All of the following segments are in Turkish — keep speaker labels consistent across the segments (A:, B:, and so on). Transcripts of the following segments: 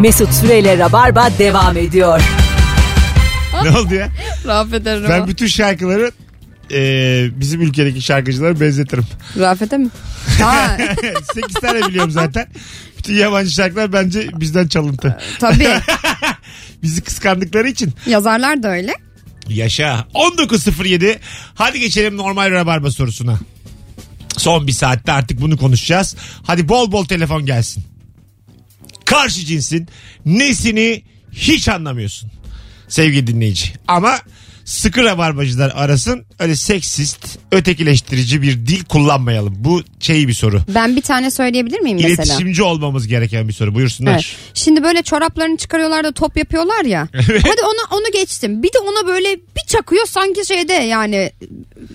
A: Mesut Süreyle Rabarba devam ediyor.
B: ne oldu ya?
C: Rafet Erroğan.
B: Ben bütün şarkıları e, bizim ülkedeki şarkıcılara benzetirim.
C: Rafet'e mi? Ha,
B: 8 tane biliyorum zaten. Bütün yabancı şarkılar bence bizden çalıntı.
C: tabii.
B: Bizi kıskandıkları için.
C: Yazarlar da öyle.
B: Yaşa. 19.07. Hadi geçelim normal rabarba sorusuna. Son bir saatte artık bunu konuşacağız. Hadi bol bol telefon gelsin. Karşı cinsin nesini hiç anlamıyorsun. Sevgili dinleyici. Ama sıkı rabarbacılar arasın. Öyle seksist, ötekileştirici bir dil kullanmayalım. Bu şey bir soru.
C: Ben bir tane söyleyebilir miyim mesela?
B: İletişimci olmamız gereken bir soru. Buyursunlar.
C: Evet. Şimdi böyle çoraplarını çıkarıyorlar da top yapıyorlar ya. Hadi ona onu geçtim. Bir de ona böyle bir çakıyor sanki şeyde yani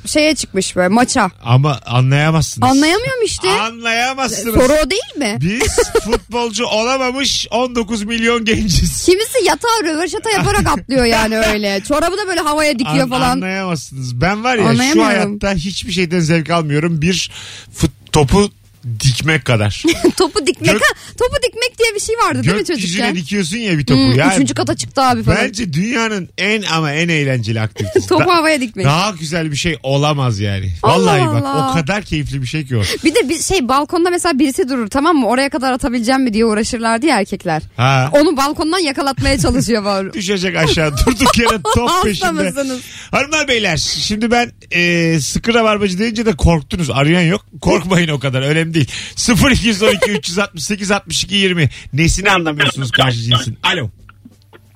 C: şeye çıkmış böyle maça.
B: Ama anlayamazsınız.
C: Anlayamıyorum işte.
B: Anlayamazsınız.
C: Soru o değil mi?
B: Biz futbolcu olamamış 19 milyon genciz.
C: Kimisi yatağa röveşata yaparak atlıyor yani öyle. Çorabı da böyle havaya dikiyor
B: An-
C: falan.
B: Anlayamazsınız. Ben var ya şu
C: Anlayamıyorum.
B: hayatta hiçbir şeyden zevk almıyorum. Bir fut, topu dikmek kadar.
C: topu dikmek.
B: Gök-
C: ha, topu dikmek diye bir şey vardı değil mi çocukken?
B: Gökyüzüne dikiyorsun ya bir topu.
C: Hmm,
B: ya.
C: Üçüncü kata çıktı abi falan.
B: Bence dünyanın en ama en eğlenceli aktivitesi.
C: Topu
B: Da-
C: havaya dikmek.
B: Daha güzel bir şey olamaz yani.
C: Allah
B: Vallahi bak
C: Allah.
B: o kadar keyifli bir şey ki o.
C: Bir de bir şey balkonda mesela birisi durur tamam mı? Oraya kadar atabileceğim mi diye uğraşırlardı ya erkekler.
B: Ha.
C: Onu balkondan yakalatmaya çalışıyor var.
B: düşecek aşağı durduk yere top
C: Hasta
B: peşinde.
C: mısınız?
B: Hanımlar beyler şimdi ben e, sıkı rabarbacı deyince de korktunuz. Arayan yok. Korkmayın o kadar önemli değil. 0212 368 62 20 nesini anlamıyorsunuz karşı cinsin? Alo.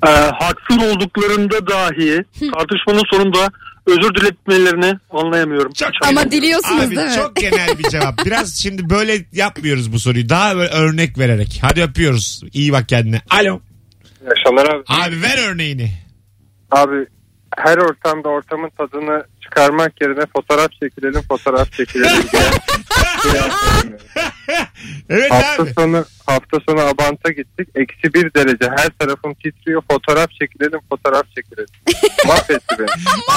D: e, haksız olduklarında dahi tartışmanın sonunda özür diletmelerini anlayamıyorum.
B: Çok
C: Ama diliyorsunuz
B: Abi,
C: değil mi?
B: çok genel bir cevap. Biraz şimdi böyle yapmıyoruz bu soruyu. Daha böyle örnek vererek. Hadi öpüyoruz. İyi bak kendine. Alo.
E: İyi akşamlar abi.
B: Abi ver örneğini.
E: Abi her ortamda ortamın tadını çıkarmak yerine fotoğraf çekilelim fotoğraf çekilelim diye.
B: Evet
E: hafta
B: abi.
E: sonu hafta sonu Abant'a gittik. Eksi bir derece. Her tarafım titriyor. Fotoğraf çekilelim fotoğraf çekilelim. Mahvetti beni.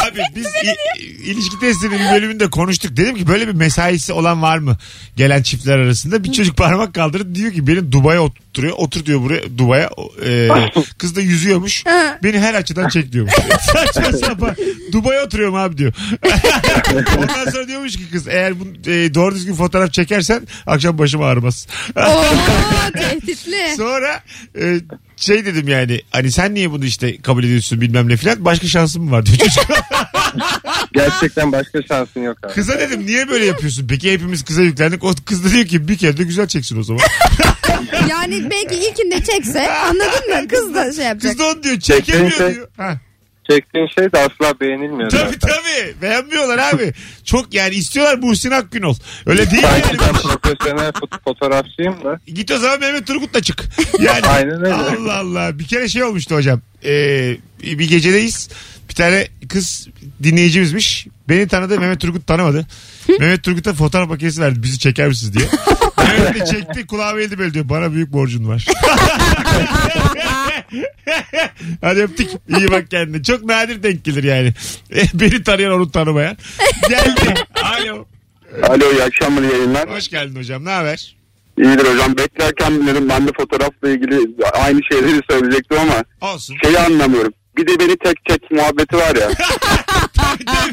B: Abi biz i- ilişki testinin bölümünde konuştuk. Dedim ki böyle bir mesaisi olan var mı? Gelen çiftler arasında. Bir çocuk parmak kaldırıp diyor ki beni Dubai'ye oturtuyor. Otur diyor buraya Dubai'ye. O- e, kız da yüzüyormuş. beni her açıdan çek diyormuş. Saçma sapan. Dubai'ye oturuyorum abi diyor. Ondan sonra diyormuş ki kız eğer bu, e, doğru düzgün fotoğraf çekersen akşam başım ağrımaz.
C: Oo tehditli.
B: Sonra e, şey dedim yani hani sen niye bunu işte kabul ediyorsun bilmem ne filan başka şansım mı var diyor çocuk.
E: Gerçekten başka şansın yok abi.
B: Kıza dedim niye böyle yapıyorsun? Peki hepimiz kıza yüklendik. O kız da diyor ki bir kere de güzel çeksin o zaman.
C: Yani belki ilkinde çekse E, anladın mı? Kız da şey yapacak.
B: Kız da onu diyor çekemiyor
E: Çekilse-
B: diyor. Ha.
E: Çektiğin şey de asla beğenilmiyor.
B: Tabii
E: zaten.
B: tabii. Beğenmiyorlar abi. Çok yani istiyorlar Muhsin Akgünol. Öyle değil
E: Sanki ben
B: yani.
E: profesyonel fot- fotoğrafçıyım da.
B: Git o zaman Mehmet Turgut'la çık. Yani
E: Aynen öyle.
B: Allah Allah. Bir kere şey olmuştu hocam. Ee, bir gecedeyiz. Bir tane kız dinleyicimizmiş. Beni tanıdı Mehmet Turgut tanımadı. Mehmet Turgut'a fotoğraf makinesi verdi. Bizi çeker misiniz diye. Mehmet de çekti kulağıma eğildi böyle diyor. Bana büyük borcun var. Hadi öptük. İyi bak kendine. Çok nadir denk gelir yani. Beni tanıyan onu tanımayan. Geldi. Alo.
F: Alo iyi akşamlar iyi yayınlar.
B: Hoş geldin hocam. Ne haber?
F: İyidir hocam beklerken dedim ben de fotoğrafla ilgili aynı şeyleri söyleyecektim ama
B: Olsun.
F: şeyi anlamıyorum. Bir de beni tek tek muhabbeti var ya.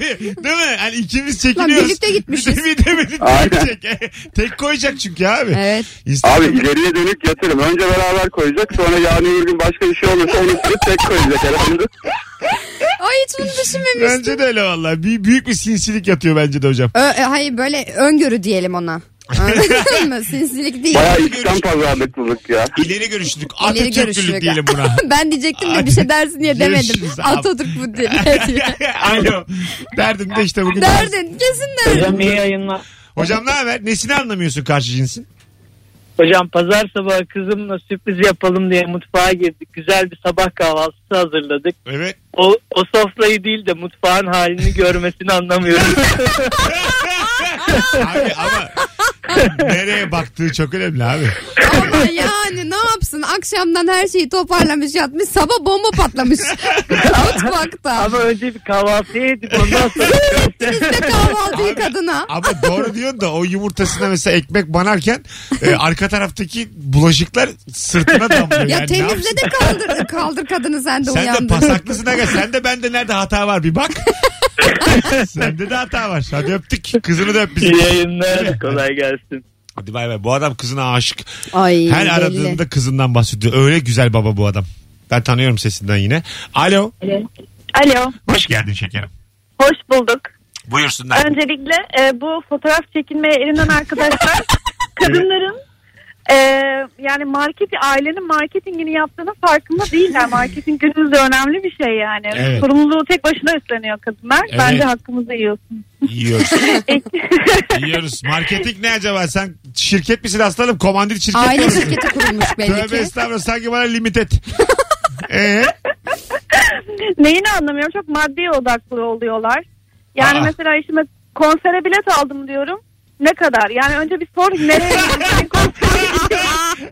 B: Değil mi? Değil mi? Hani ikimiz çekiniyoruz.
C: Lan birlikte gitmişiz.
B: Bir de, bir de beni
F: Aynen.
B: tek çek. E, Tek koyacak çünkü abi.
C: Evet.
F: Abi
B: Instagram-
F: ileriye dönük yatırım. Önce beraber koyacak sonra yarın öbür gün başka bir şey olursa onu silip tek koyacak herhalde.
C: Ay hiç bunu düşünmemiştim.
B: Bence de öyle valla. Bir, büyük bir sinsilik yatıyor bence de hocam.
C: Ö- e, hayır böyle öngörü diyelim ona. Anladın mı? Sinsilik değil.
F: Bayağı içten pazarlıklılık ya.
B: İleri görüşlük.
C: İleri
B: Atatürklülük
C: görüşlülük.
B: diyelim buna.
C: ben diyecektim de bir şey dersin diye demedim.
B: Görüşürüz abi.
C: Atatürk bu diye. diye.
B: Alo. Derdim de işte bugün.
C: Derdin kesin derdin.
G: Hocam iyi yayınlar.
B: Hocam ne haber? Nesini anlamıyorsun karşı cinsin?
G: Hocam pazar sabahı kızımla sürpriz yapalım diye mutfağa girdik. Güzel bir sabah kahvaltısı
H: sofrası hazırladık.
B: Evet.
H: O, o sofrayı değil de mutfağın halini görmesini anlamıyorum.
B: Abi ama nereye baktığı çok önemli abi.
C: Ama yani ne yapsın akşamdan her şeyi toparlamış yatmış sabah bomba patlamış mutfakta.
H: Ama önce bir kahvaltıya edip ondan sonra
C: Bizde kahvaltıyı kadına.
B: Ama doğru diyorsun da o yumurtasına mesela ekmek banarken e, arka taraftaki bulaşıklar sırtına damlıyor.
C: Ya
B: yani ne yapsın?
C: temizle de kaldır, kaldır kadını sen de
B: Sen de
C: uyandır.
B: pasaklısın aga. Sen de bende nerede hata var bir bak. Sende de hata var. Hadi öptük. Kızını da öp
H: iyi
B: bizim.
H: yayınlar kolay gelsin.
B: Hadi bay bay. Bu adam kızına aşık.
C: Ay,
B: Her
C: belli.
B: aradığında kızından bahsediyor. Öyle güzel baba bu adam. Ben tanıyorum sesinden yine. Alo.
I: Alo,
B: Hoş geldin şekerim.
I: hoş bulduk.
B: Buyursunlar.
I: Öncelikle e, bu fotoğraf çekinmeye elenen arkadaşlar kadınların e, yani market ailenin marketingini yaptığının farkında değiller. Marketing günümüzde önemli bir şey yani.
B: Evet.
I: Sorumluluğu tek başına üstleniyor kadınlar.
B: Evet.
I: Bence hakkımızı yiyorsunuz.
B: Yiyoruz. Yiyoruz. Marketing ne acaba? Sen şirket misin aslanım? Komandit şirket
C: Aile
B: misin?
C: şirketi kurulmuş belli
B: Tövbe
C: ki.
B: estağfurullah. Sanki bana limited. Ee,
I: Neyini anlamıyorum çok maddi odaklı oluyorlar. Yani
B: Aa.
I: mesela işime konsere bilet aldım diyorum. Ne kadar? Yani önce bir sor nereye? Yani konsere gideceğim.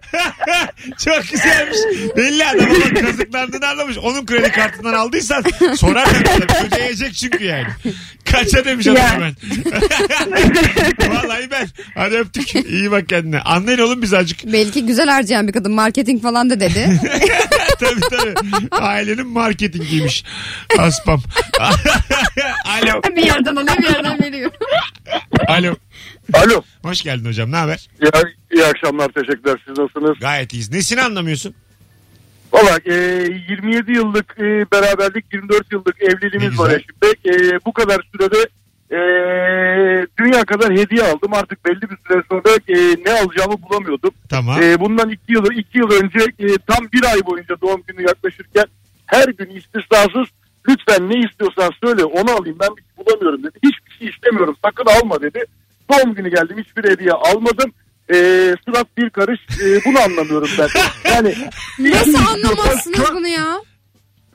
B: çok güzelmiş. Belli adam ama kazıklandığını anlamış. Onun kredi kartından aldıysan sorar tabii. Ödeyecek çünkü yani. Kaça demiş adam
I: Ya.
B: hemen. Vallahi ben. Hadi öptük. İyi bak kendine. Anlayın oğlum biz azıcık.
C: Belki güzel harcayan bir kadın marketing falan da dedi.
B: tabii tabii. Ailenin marketingiymiş. Aspam. Alo.
C: bir yerden alıyor bir yerden veriyor.
B: Alo.
J: Alo.
B: Hoş geldin hocam. Ne haber?
J: İyi, iyi akşamlar teşekkürler siz nasılsınız?
B: Gayet iyiyiz. Nesini anlamıyorsun?
J: Valla e, 27 yıllık e, beraberlik 24 yıllık
B: Ne
J: evliliğimiz
B: güzel.
J: var eşimde. E, bu kadar sürede e, dünya kadar hediye aldım. Artık belli bir süre sonra e, ne alacağımı bulamıyordum.
B: Tamam.
J: E, bundan 2 yıl, iki yıl önce e, tam bir ay boyunca doğum günü yaklaşırken her gün istisnasız lütfen ne istiyorsan söyle onu alayım ben hiç bulamıyorum dedi. Hiçbir şey istemiyorum sakın alma dedi. Doğum günü geldim hiçbir hediye almadım. E, surat bir karış e, bunu anlamıyorum ben. Yani
C: Nasıl anlamazsınız bunu ya?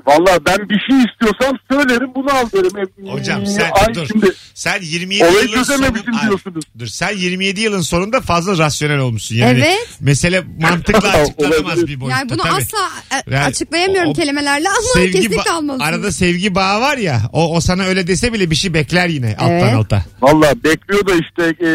J: Valla ben bir şey istiyorsam söylerim bunu al derim. E,
B: Hocam sen
J: ay
B: dur.
J: şimdi
B: Sen 27
J: olayı
B: yılın
J: çözememişim
B: sonu- Ay,
J: diyorsunuz.
B: Dur sen 27 yılın sonunda fazla rasyonel olmuşsun yani.
C: Evet.
B: Mesele mantıkla açıklanamaz
J: Olabilir.
B: bir boyutta.
C: Yani bunu
B: tabii.
C: asla e,
B: Yani
C: açıklayamıyorum
B: o-
C: kelimelerle ama kesinlikle
B: ba-
C: almalısınız.
B: arada sevgi bağı var ya o, o sana öyle dese bile bir şey bekler yine alttan
C: Evet.
B: alta.
J: Valla bekliyor da işte e,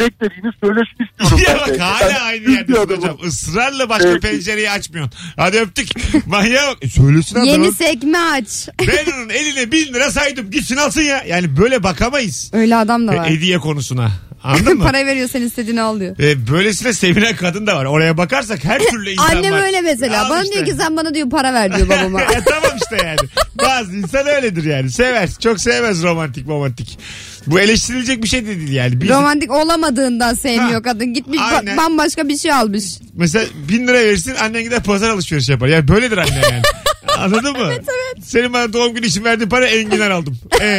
J: beklediğini söylesin istiyorum.
B: Ya
J: ben
B: bak
J: de.
B: hala
J: Ben
B: aynı yerdesin
J: istiyordum.
B: hocam. Israrla başka
J: Evet.
B: pencereyi açmıyorsun. Hadi öptük. Manyağa bak. E, Söylesin adamı.
C: Yeni sekme aç.
B: Ben onun eline bin lira saydım. Gitsin alsın ya. Yani böyle bakamayız.
C: Öyle adam da
B: E,
C: var.
B: Hediye konusuna. Anladın mı?
C: Para veriyor sen istediğini al diyor.
B: E, böylesine sevinen kadın da var. Oraya bakarsak her türlü insan
C: E, Annem
B: var.
C: öyle mesela.
B: Al
C: bana
B: işte.
C: diyor ki sen bana diyor para ver diyor babama.
B: E, tamam işte yani. Bazı insan öyledir yani. Sever. Çok sevmez romantik romantik. Bu eleştirilecek bir şey de değil yani. Biz
C: Romantik olamadığından sevmiyor
B: Ha,
C: kadın. Gitmiş ba-
B: aynen.
C: bambaşka bir şey almış.
B: mesela bin lira verirsin annen gider pazar alışverişi yapar. Yani böyledir anne yani. Anladın mı? Evet evet. Senin bana doğum günü için verdiğin para enginar aldım. E,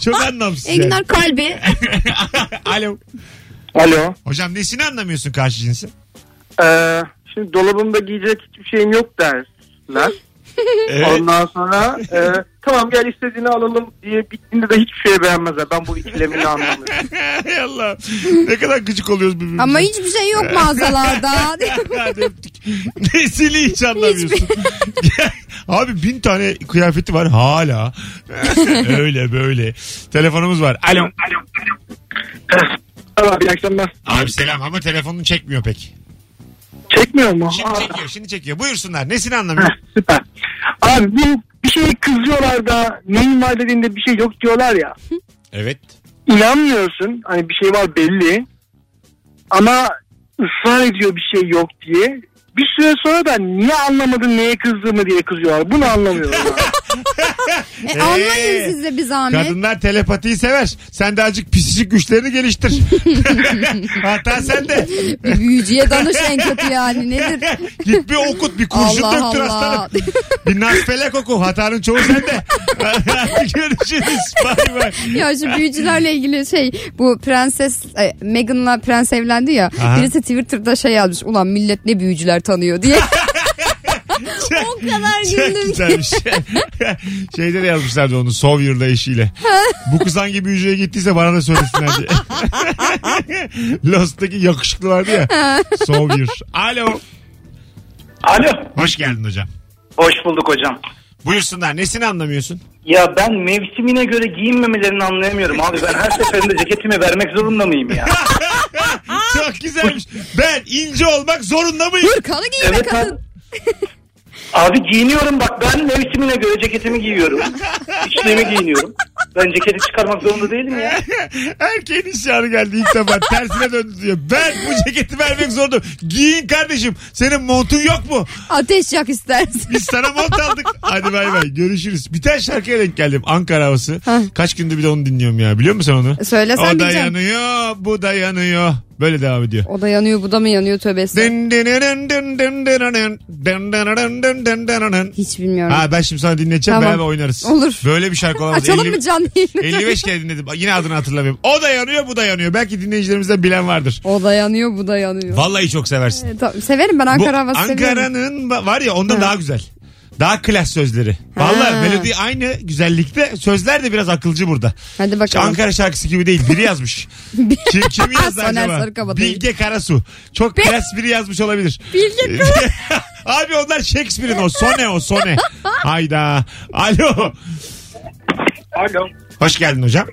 B: çok anlamsız yani.
C: Enginar kalbi.
B: Alo.
G: Alo.
B: Hocam nesini anlamıyorsun karşı cinsin?
G: Ee, şimdi dolabımda giyecek hiçbir şeyim yok derler.
B: Evet.
G: Ondan sonra e, tamam gel istediğini alalım diye bittiğinde de hiçbir şey beğenmezler. Ben bu ikilemini anlamıyorum.
B: Ey Allah. Ne kadar gıcık oluyoruz birbirimize.
C: Ama hiçbir şey yok mağazalarda.
B: Hadi öptük. Nesini hiç anlamıyorsun. Abi bin tane kıyafeti var hala. Öyle böyle. Telefonumuz var. Alo.
G: Merhaba iyi akşamlar.
B: Abi selam ama telefonunu çekmiyor pek.
G: Çekmiyor mu?
B: Şimdi
G: Aa,
B: çekiyor şimdi çekiyor. Buyursunlar. Nesini anlamıyor?
G: süper. Abi bu bir
J: şey
G: şeye kızıyorlar da neyin var dediğinde bir şey yok diyorlar ya.
B: Evet.
G: İnanmıyorsun hani bir şey var belli ama ısrar ediyor bir şey yok diye. Bir süre sonra da niye anlamadın neye kızdığımı diye kızıyorlar. Bunu anlamıyorum. ben.
B: Ee.
C: e, anlayın siz de bir zahmet.
B: Kadınlar telepatiyi sever. Sen de azıcık psikik güçlerini geliştir. Hatta sen de.
C: Bir büyücüye danış en kötü yani nedir?
B: Git bir okut bir kurşun
C: Allah
B: döktür
C: Allah.
B: aslanım. Bir naspelak oku. Hatanın çoğu sende. Hadi görüşürüz. Bay bay.
C: ya şu büyücülerle ilgili şey bu prenses e, Meghan'la prens evlendi ya.
B: Aha.
C: Birisi Twitter'da şey yazmış ulan millet ne büyücüler tanıyor diye.
K: o kadar
B: Çok
K: güldüm ki.
B: güzelmiş. Şeyde de yazmışlardı onu Sovyur'da eşiyle. Bu kız hangi büyücüye gittiyse bana da söylesinler diye. Lost'taki yakışıklı vardı ya. Sovyur. Alo.
G: Alo.
B: Hoş geldin hocam.
G: Hoş bulduk hocam.
B: Buyursunlar. Nesini anlamıyorsun?
G: Ya ben mevsimine göre giyinmemelerini anlayamıyorum abi. Ben her seferinde ceketimi vermek zorunda mıyım ya?
B: Çok güzelmiş. Ben ince olmak zorunda mıyım?
C: Hırkanı giyme
G: Evet,
C: kadın.
G: Abi giyiniyorum bak ben mevsimine göre ceketimi giyiyorum. İçliğimi giyiniyorum. Ben ceketi çıkarmak zorunda değilim ya.
B: Erkeğin işarı geldi ilk defa. Tersine döndü diyor. Ben bu ceketi vermek zorundayım. Giyin kardeşim. Senin montun yok mu?
C: Ateş yak istersen.
B: Biz sana mont aldık. Hadi bay bay. Görüşürüz. Bir tane şarkıya denk geldim. Ankara havası.
C: Ha.
B: Kaç gündür bir de onu dinliyorum ya. Biliyor musun onu?
C: Söylesen
B: o da
C: diyeceğim.
B: yanıyor, bu da yanıyor. Böyle devam ediyor.
C: O da yanıyor bu da mı yanıyor tövbesi.
B: Dın dın dın dın dın dın dın dın dın dın dın dın dın.
C: Hiç bilmiyorum.
B: Ha ben şimdi sana dinleteceğim
C: Tamam.
B: beraber oynarız.
C: Olur.
B: Böyle bir şarkı olamaz.
C: Açalım
B: 50
C: mı canlı yayını?
B: 55 kere dinledim. Yine adını hatırlamıyorum. O da yanıyor bu da yanıyor. Belki dinleyicilerimizden bilen vardır.
C: O da yanıyor bu da yanıyor.
B: Vallahi çok seversin.
C: E, tamam, severim ben
B: Bu
C: Ankara havası seviyorum.
B: Ankara'nın ba- var ya onda daha güzel. Daha klas sözleri.
C: Ha.
B: Vallahi melodi aynı güzellikte. Sözler de biraz akılcı burada.
C: Hadi bakalım.
B: Ankara şarkısı gibi değil. Biri yazmış. Kim, kim yazdı
C: Soner
B: acaba?
C: Sarıkaba değil.
B: Bilge Karasu. Çok klas biri yazmış olabilir. Ee,
C: Bilge
B: Abi onlar Shakespeare'in o. Sone o Sone. Hayda. Alo.
L: Alo.
B: Hoş geldin hocam.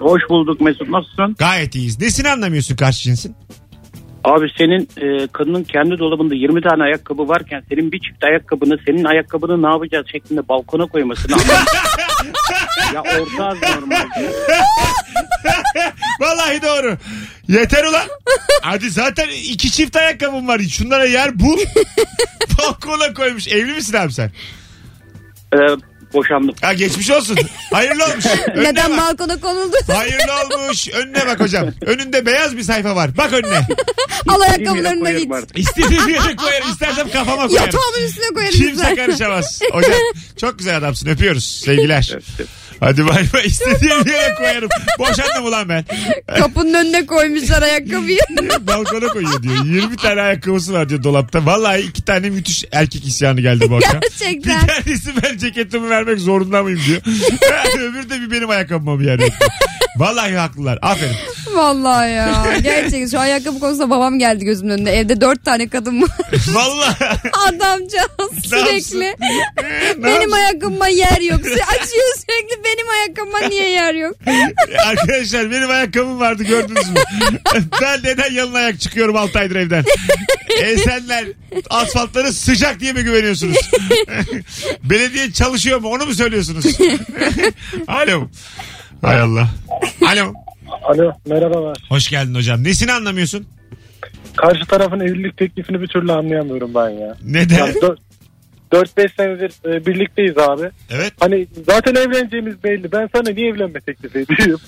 L: Hoş bulduk Mesut nasılsın?
B: Gayet iyiyiz. Nesini anlamıyorsun karşı cinsin?
L: Abi senin e, kadının kendi dolabında 20 tane ayakkabı varken senin bir çift ayakkabını senin ayakkabını ne yapacağız şeklinde balkona koymasını anlamıyorum. ya orta az normal.
B: Vallahi doğru. Yeter ulan. Hadi zaten iki çift ayakkabım var. Şunlara yer bul. Balkona koymuş. Evli misin abi sen?
L: E, boşandım.
B: Ha geçmiş olsun. Hayırlı olmuş. Önüne
C: Neden
B: bak.
C: balkona konuldu?
B: Hayırlı olmuş. Önüne bak hocam. Önünde beyaz bir sayfa var. Bak önüne.
C: Al ayakkabılarına git.
B: İstediğim yere koyarım. İstersem kafama koyarım.
C: Yatağımın üstüne koyarım.
B: Kimse
C: güzel.
B: karışamaz. Hocam çok güzel adamsın. Öpüyoruz. Sevgiler. Hadi bay bay. İstediğim yere koyarım. Boşandım ulan ben.
C: Kapının önüne koymuşlar ayakkabıyı.
B: balkona koyuyor diyor. 20 tane ayakkabısı var diyor dolapta. Vallahi iki tane müthiş erkek isyanı geldi bu akşam.
C: Gerçekten.
B: Bir tanesi ben ceketimi vermek zorunda mıyım diyor. Öbürü de bir benim ayakkabıma bir yer yok. Vallahi haklılar. Aferin.
C: Vallahi ya. Gerçekten şu ayakkabı konusunda babam geldi gözümün önüne. Evde dört tane kadın var.
B: Vallahi.
C: Adamcağız
B: Ne yapsın?
C: sürekli.
B: Ne
C: benim
B: yapsın?
C: ayakkabıma yer yok. Sü- Açıyor sürekli benim ayakkabıma niye yer yok?
B: Arkadaşlar benim ayakkabım vardı gördünüz mü? ben neden yalın ayak çıkıyorum 6 aydır evden? Esenler asfaltları sıcak diye mi güveniyorsunuz? Belediye çalışıyor mu onu mu söylüyorsunuz? Alo. Hay Allah. Alo.
L: Alo merhabalar.
B: Hoş geldin hocam. Nesini anlamıyorsun?
L: Karşı tarafın evlilik teklifini bir türlü anlayamıyorum ben ya.
B: Neden?
L: 4-5 senedir e, birlikteyiz abi.
B: Evet.
L: Hani zaten evleneceğimiz belli. Ben sana niye evlenme teklif ediyorum?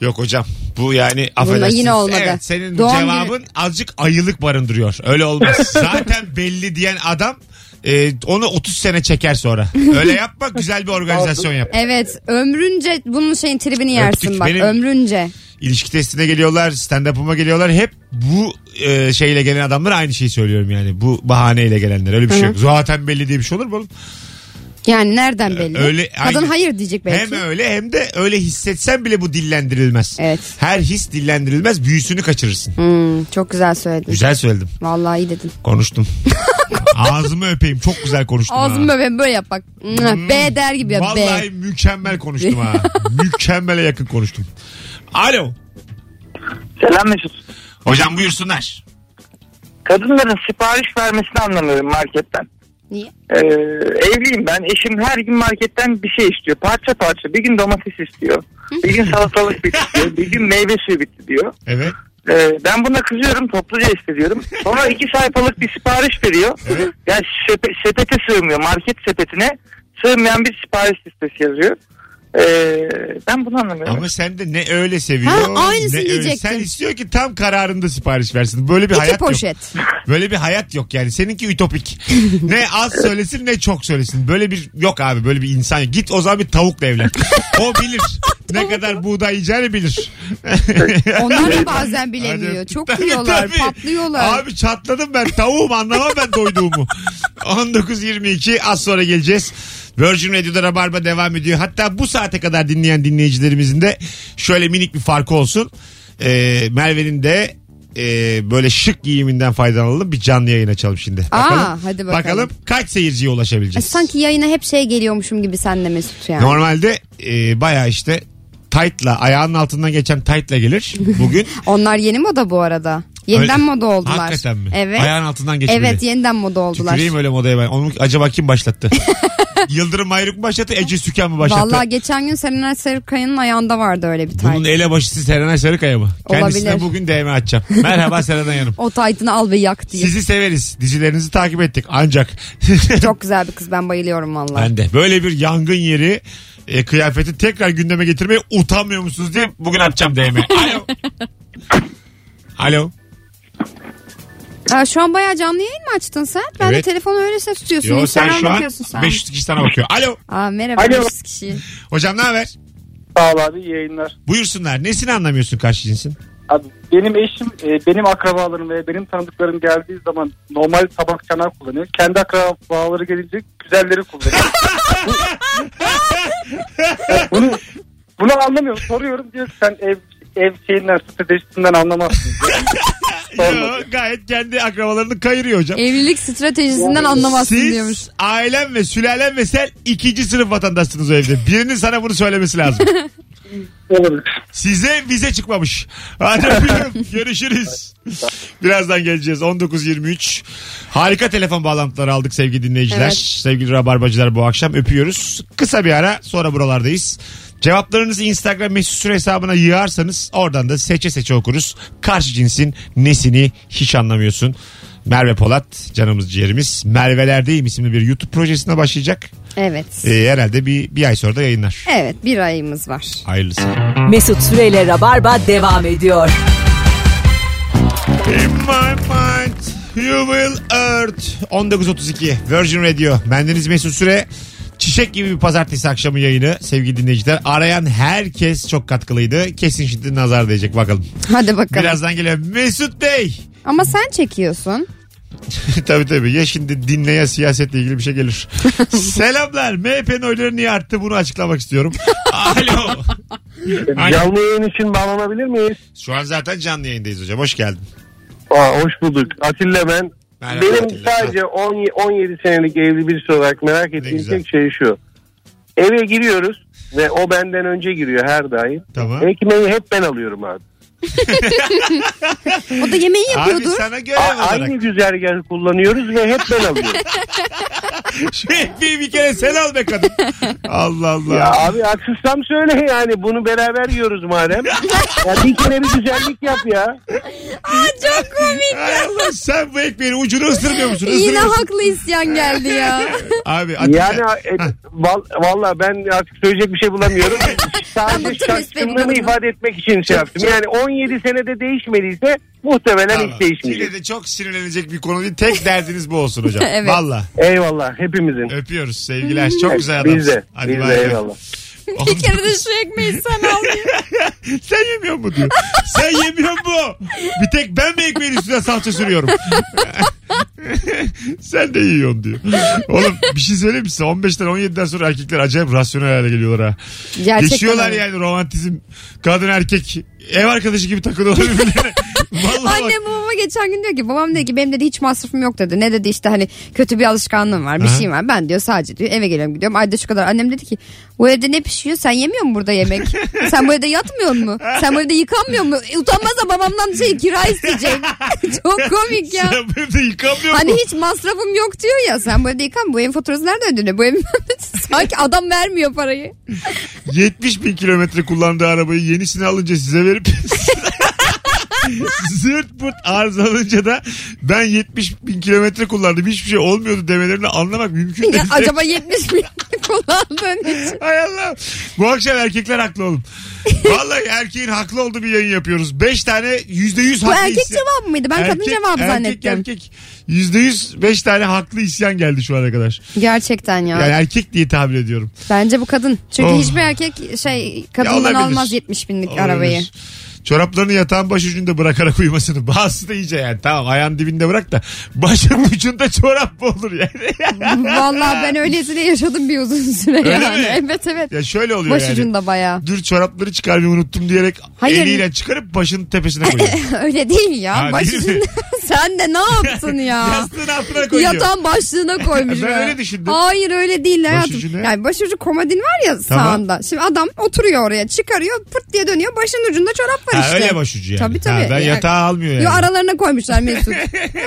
B: Yok hocam. Bu yani affedersiniz.
C: yine olmadı.
B: Evet, senin
C: Doğum
B: cevabın azıcık ayılık barındırıyor. Öyle olmaz. Zaten belli diyen adam e, onu 30 sene çeker sonra. Öyle yapma güzel bir organizasyon yap.
C: Evet ömrünce bunun şeyin tribini yersin
B: Öptük.
C: bak
B: Benim-
C: ömrünce.
B: İlişki testine geliyorlar, stand-up'ıma geliyorlar. Hep bu e, şeyle gelen adamlar aynı şeyi söylüyorum yani. Bu bahaneyle gelenler. Öyle bir şey yok. Zaten belli diye bir şey olur mu oğlum?
C: Yani nereden belli?
B: Ee, öyle-
C: Kadın
B: aynı-
C: hayır diyecek belki.
B: Hem öyle hem de öyle hissetsen bile bu dillendirilmez.
C: Evet.
B: Her his dillendirilmez. Büyüsünü kaçırırsın.
C: Hmm, çok güzel söyledin.
B: Güzel söyledim.
C: Vallahi iyi dedin.
B: Konuştum. Ağzımı öpeyim. Çok güzel konuştum. ha.
C: Ağzımı öpeyim böyle yap bak. B der gibi yap. B.
B: Hmm. Vallahi mükemmel konuştum ha. Mükemmele yakın konuştum. Alo.
G: Selam Mesut.
B: Hocam buyursunlar.
G: Kadınların sipariş vermesini anlamıyorum marketten.
C: Niye?
G: Ee, evliyim ben. Eşim her gün marketten bir şey istiyor. Parça parça. Bir gün domates istiyor. Bir gün salatalık bitti diyor. Bir gün meyve suyu bitti diyor.
B: Evet.
G: Ee, ben buna kızıyorum. Topluca istediyorum. Sonra iki sayfalık bir sipariş veriyor.
B: Evet.
G: Yani sepe- sepete sığmıyor. Market sepetine sığmayan bir sipariş listesi yazıyor. Ee, ben bunu anlamıyorum.
B: Ama sen de ne öyle seviyor.
C: Ha, aynısını
B: ne öyle-
C: diyecektim.
B: Sen istiyor ki tam kararında sipariş versin. Böyle bir
C: İki
B: hayat
C: poşet.
B: yok. Böyle bir hayat yok yani. Seninki ütopik. ne az söylesin ne çok söylesin. Böyle bir yok abi böyle bir insan. yok. Git o zaman bir tavukla evlen. O bilir. ne kadar buğday yiyeceğini bilir.
C: Onlar da bazen bilemiyor.
B: Acayip.
C: Çok
B: Tabii,
C: yiyorlar,
B: tabii.
C: patlıyorlar.
B: Abi çatladım ben tavuğum anlamam ben doyduğumu. 19.22 az sonra geleceğiz. Virgin Radio'da Rabarba devam ediyor. Hatta bu saate kadar dinleyen dinleyicilerimizin de şöyle minik bir farkı olsun. Ee, Merve'nin de e, böyle şık giyiminden faydalanalım. Bir canlı yayın açalım şimdi.
C: Aa, hadi bakalım.
B: kaç seyirciye
C: E,
B: ulaşabileceğiz.
C: sanki yayına hep şey geliyormuşum gibi senle Mesut yani.
B: Normalde e, baya işte tight'la ayağının altından geçen tight'la gelir. Bugün
C: Onlar yeni moda bu arada. Yeniden
B: Öyle-
C: moda oldular.
B: Hakikaten mi?
C: Evet.
B: Ayağın altından geçmeli.
C: Evet yeniden moda oldular.
B: Tüküreyim öyle modaya ben. Onu acaba kim başlattı? Yıldırım Ayrık mı başlattı? Ece Süken mi başlattı?
C: Vallahi geçen gün Serenay Sarıkaya'nın ayağında vardı öyle bir tayt.
B: Bunun elebaşısı Serenay Sarıkaya mı? Kendisine
C: Olabilir.
B: bugün DM atacağım. Merhaba Serenay Hanım.
C: O taytını al ve yak diye.
B: Sizi severiz. Dizilerinizi takip ettik. Ancak
C: Çok güzel bir kız ben bayılıyorum vallahi.
B: ben de böyle bir yangın yeri e, kıyafeti tekrar gündeme getirmeye utanmıyor musunuz diye bugün atacağım DM. Alo. Alo.
C: Ha, şu an bayağı canlı yayın mı açtın sen? Ben
B: Evet.
C: de telefonu öylesine tutuyorsun.
B: Yo, sen
C: Instagram'a
B: şu an
C: bakıyorsun sen.
B: 500 kişi sana bakıyor. Alo.
C: Aa, merhaba
M: Alo.
C: 500 kişi.
B: Hocam ne haber?
M: Sağ ol abi iyi yayınlar.
B: Buyursunlar. Nesini anlamıyorsun karşı cinsin?
M: Abi benim eşim e, benim akrabalarım ve benim tanıdıklarım geldiği zaman normal tabak çanak kullanıyor. Kendi akrabaları gelince güzelleri kullanıyor. Bu- bunu, bunu anlamıyorum. Soruyorum diyor ki, sen ev ev şeyinden stratejisinden anlamazsın. diyor.
B: Yo, gayet kendi akrabalarını kayırıyor hocam.
C: Evlilik stratejisinden anlamazsın
B: Siz
C: diyormuş.
B: ailen ve sülalen ve sen ikinci sınıf vatandaşsınız o evde. Birinin sana bunu söylemesi lazım.
M: Olabilir.
B: Size vize çıkmamış. Hadi öpüyorum. Görüşürüz. Birazdan geleceğiz. 19.23. Harika telefon bağlantıları aldık sevgili dinleyiciler.
C: Evet.
B: Sevgili rabarbacılar bu akşam öpüyoruz. Kısa bir ara sonra buralardayız. Cevaplarınızı Instagram mesut süre hesabına yığarsanız oradan da seçe seçe okuruz. Karşı cinsin nesini hiç anlamıyorsun. Merve Polat canımız ciğerimiz. Mervelerdeyim isimli bir YouTube projesine başlayacak.
C: Evet.
B: Ee, herhalde bir, bir ay sonra da yayınlar.
C: Evet bir ayımız var.
B: Hayırlısı.
A: Mesut Süreyle Rabarba devam ediyor.
B: In my mind you will earth 19.32 Virgin Radio bendeniz Mesut Süre Çiçek gibi bir pazartesi akşamı yayını sevgili dinleyiciler. Arayan herkes çok katkılıydı. Kesin şimdi nazar değecek bakalım.
C: Hadi bakalım.
B: Birazdan geliyor. Mesut Bey.
C: Ama sen çekiyorsun.
B: tabii tabii ya şimdi dinle ya siyasetle ilgili bir şey gelir. Selamlar. MHP'nin oyları niye arttı bunu açıklamak istiyorum. Alo. Alo.
L: Canlı yayın için bağlanabilir miyiz?
B: Şu an zaten canlı yayındayız hocam. Hoş geldin.
L: Aa, hoş bulduk. Atilla ben.
B: Merhaba
L: Benim
B: Atilla.
L: sadece 10, 17 senelik evli birisi olarak merak ettiğim
B: güzel.
L: tek şey şu. Eve giriyoruz ve o benden önce giriyor her daim.
B: Tamam.
L: Ekmeği hep ben alıyorum abi.
C: O da yemeği
B: Abi
C: yapıyordur.
B: sana görev
L: A-
B: olarak.
L: aynı güzergahı kullanıyoruz ve hep ben alıyorum.
B: Şefbi bir kere sen al be kadın. Allah Allah.
L: ya abi haksızsam söyle yani bunu beraber yiyoruz madem. ya bir kere bir güzellik yap ya.
C: Çok komik.
B: Ay Allah sen bu ekmeğin ucunu ısırmıyor musun?
C: Yine
B: Isırıyorsun.
C: haklı isyan geldi ya.
B: Abi Atilla.
L: Yani e, val, valla ben artık söyleyecek bir şey bulamıyorum. Sadece
C: Anlatır
L: şaşkınlığımı
C: mısın?
L: ifade etmek için şey yaptım. Yani 17 senede değişmediyse muhtemelen
B: Tamam.
L: hiç değişmeyecek.
B: Yine de çok sinirlenecek bir konu değil. Tek derdiniz bu olsun hocam.
C: Evet.
B: Valla.
L: Eyvallah hepimizin.
B: Öpüyoruz sevgiler. Çok güzel adam.
L: Biz de. biz de eyvallah.
C: Bir kere de şu ekmeği sen al diye.
B: sen yemiyor mu diyor. sen yemiyor mu? Bir tek ben mi ekmeğin üstüne salça sürüyorum? sen de yiyorsun diyor. Oğlum bir şey söyleyeyim mi size? 15'ten 17'den sonra erkekler acayip rasyonel hale geliyorlar ha.
C: Gerçekten
B: Geçiyorlar
C: öyle.
B: yani romantizm. Kadın erkek ev arkadaşı gibi takılıyorlar birbirlerine. Vallahi bak.
C: Annem babama geçen gün diyor ki babam dedi ki benim dedi hiç masrafım yok dedi. Ne dedi işte hani kötü bir alışkanlığım var bir
B: Aha.
C: şeyim var. Ben diyor sadece diyor eve geliyorum gidiyorum. Ayda şu kadar annem dedi ki bu evde ne pişiyor sen yemiyor musun burada yemek? sen bu evde yatmıyor mu? Sen bu evde yıkanmıyor mu? E, Utanmaz da babamdan şey kira isteyecek. Çok komik ya.
B: Sen bu evde yıkamıyor
C: Hani
B: mu?
C: hiç masrafım yok diyor ya sen bu evde yıkan bu evin faturası nereden ödeniyor? Bu evin sanki adam vermiyor parayı.
B: 70 bin kilometre kullandığı arabayı yenisini alınca size verip Zırt pırt arızalanınca da ben 70 bin kilometre kullandım hiçbir şey olmuyordu demelerini anlamak mümkün değil.
C: Ya acaba 70 bin kullandığın için.
B: Hay Allah. Bu akşam erkekler haklı oğlum. Vallahi erkeğin haklı olduğu bir yayın yapıyoruz. 5 tane %100
C: Bu
B: haklı
C: erkek
B: isyan-
C: cevabı mıydı? Ben kadın cevabı
B: erkek,
C: zannettim.
B: Erkek %100 5 tane haklı isyan geldi şu ana kadar.
C: Gerçekten ya.
B: Yani erkek diye tahmin ediyorum.
C: Bence bu kadın. Çünkü
B: Oh.
C: hiçbir erkek şey kadından
B: olabilir.
C: almaz 70 binlik arabayı.
B: Olabilir. Çoraplarını yatağın baş ucunda bırakarak uyumasını. Bazısı da iyice yani. Tamam ayağın dibinde bırak da başın ucunda çorap mı olur yani?
C: Vallahi ben öylesine yaşadım bir uzun süre
B: Öyle
C: yani.
B: mi?
C: Evet evet.
B: ya şöyle oluyor yani.
C: Başucunda bayağı.
B: Dur çorapları çıkarmayı unuttum diyerek
C: Hayır.
B: eliyle çıkarıp başının tepesine koyuyor.
C: Öyle değil ya.
B: Ha, değil mi?
C: Başucunda sen de ne yaptın ya?
B: Yastığın altına koyuyor.
C: Yatağın başlığına koymuş.
B: Ben
C: be.
B: öyle düşündüm.
C: Hayır öyle değil hayatım.
B: Başucu ne?
C: Yani başucu komodin var ya
B: Tamam.
C: sağında. Şimdi adam oturuyor oraya çıkarıyor pırt diye dönüyor. Başın ucunda çorap var
B: Ha,
C: işte.
B: öyle başucu yani.
C: Tabii
B: Ha,
C: tabii.
B: ben
C: Yani-
B: yatağı almıyor yani.
C: Yo, aralarına koymuşlar Mesut.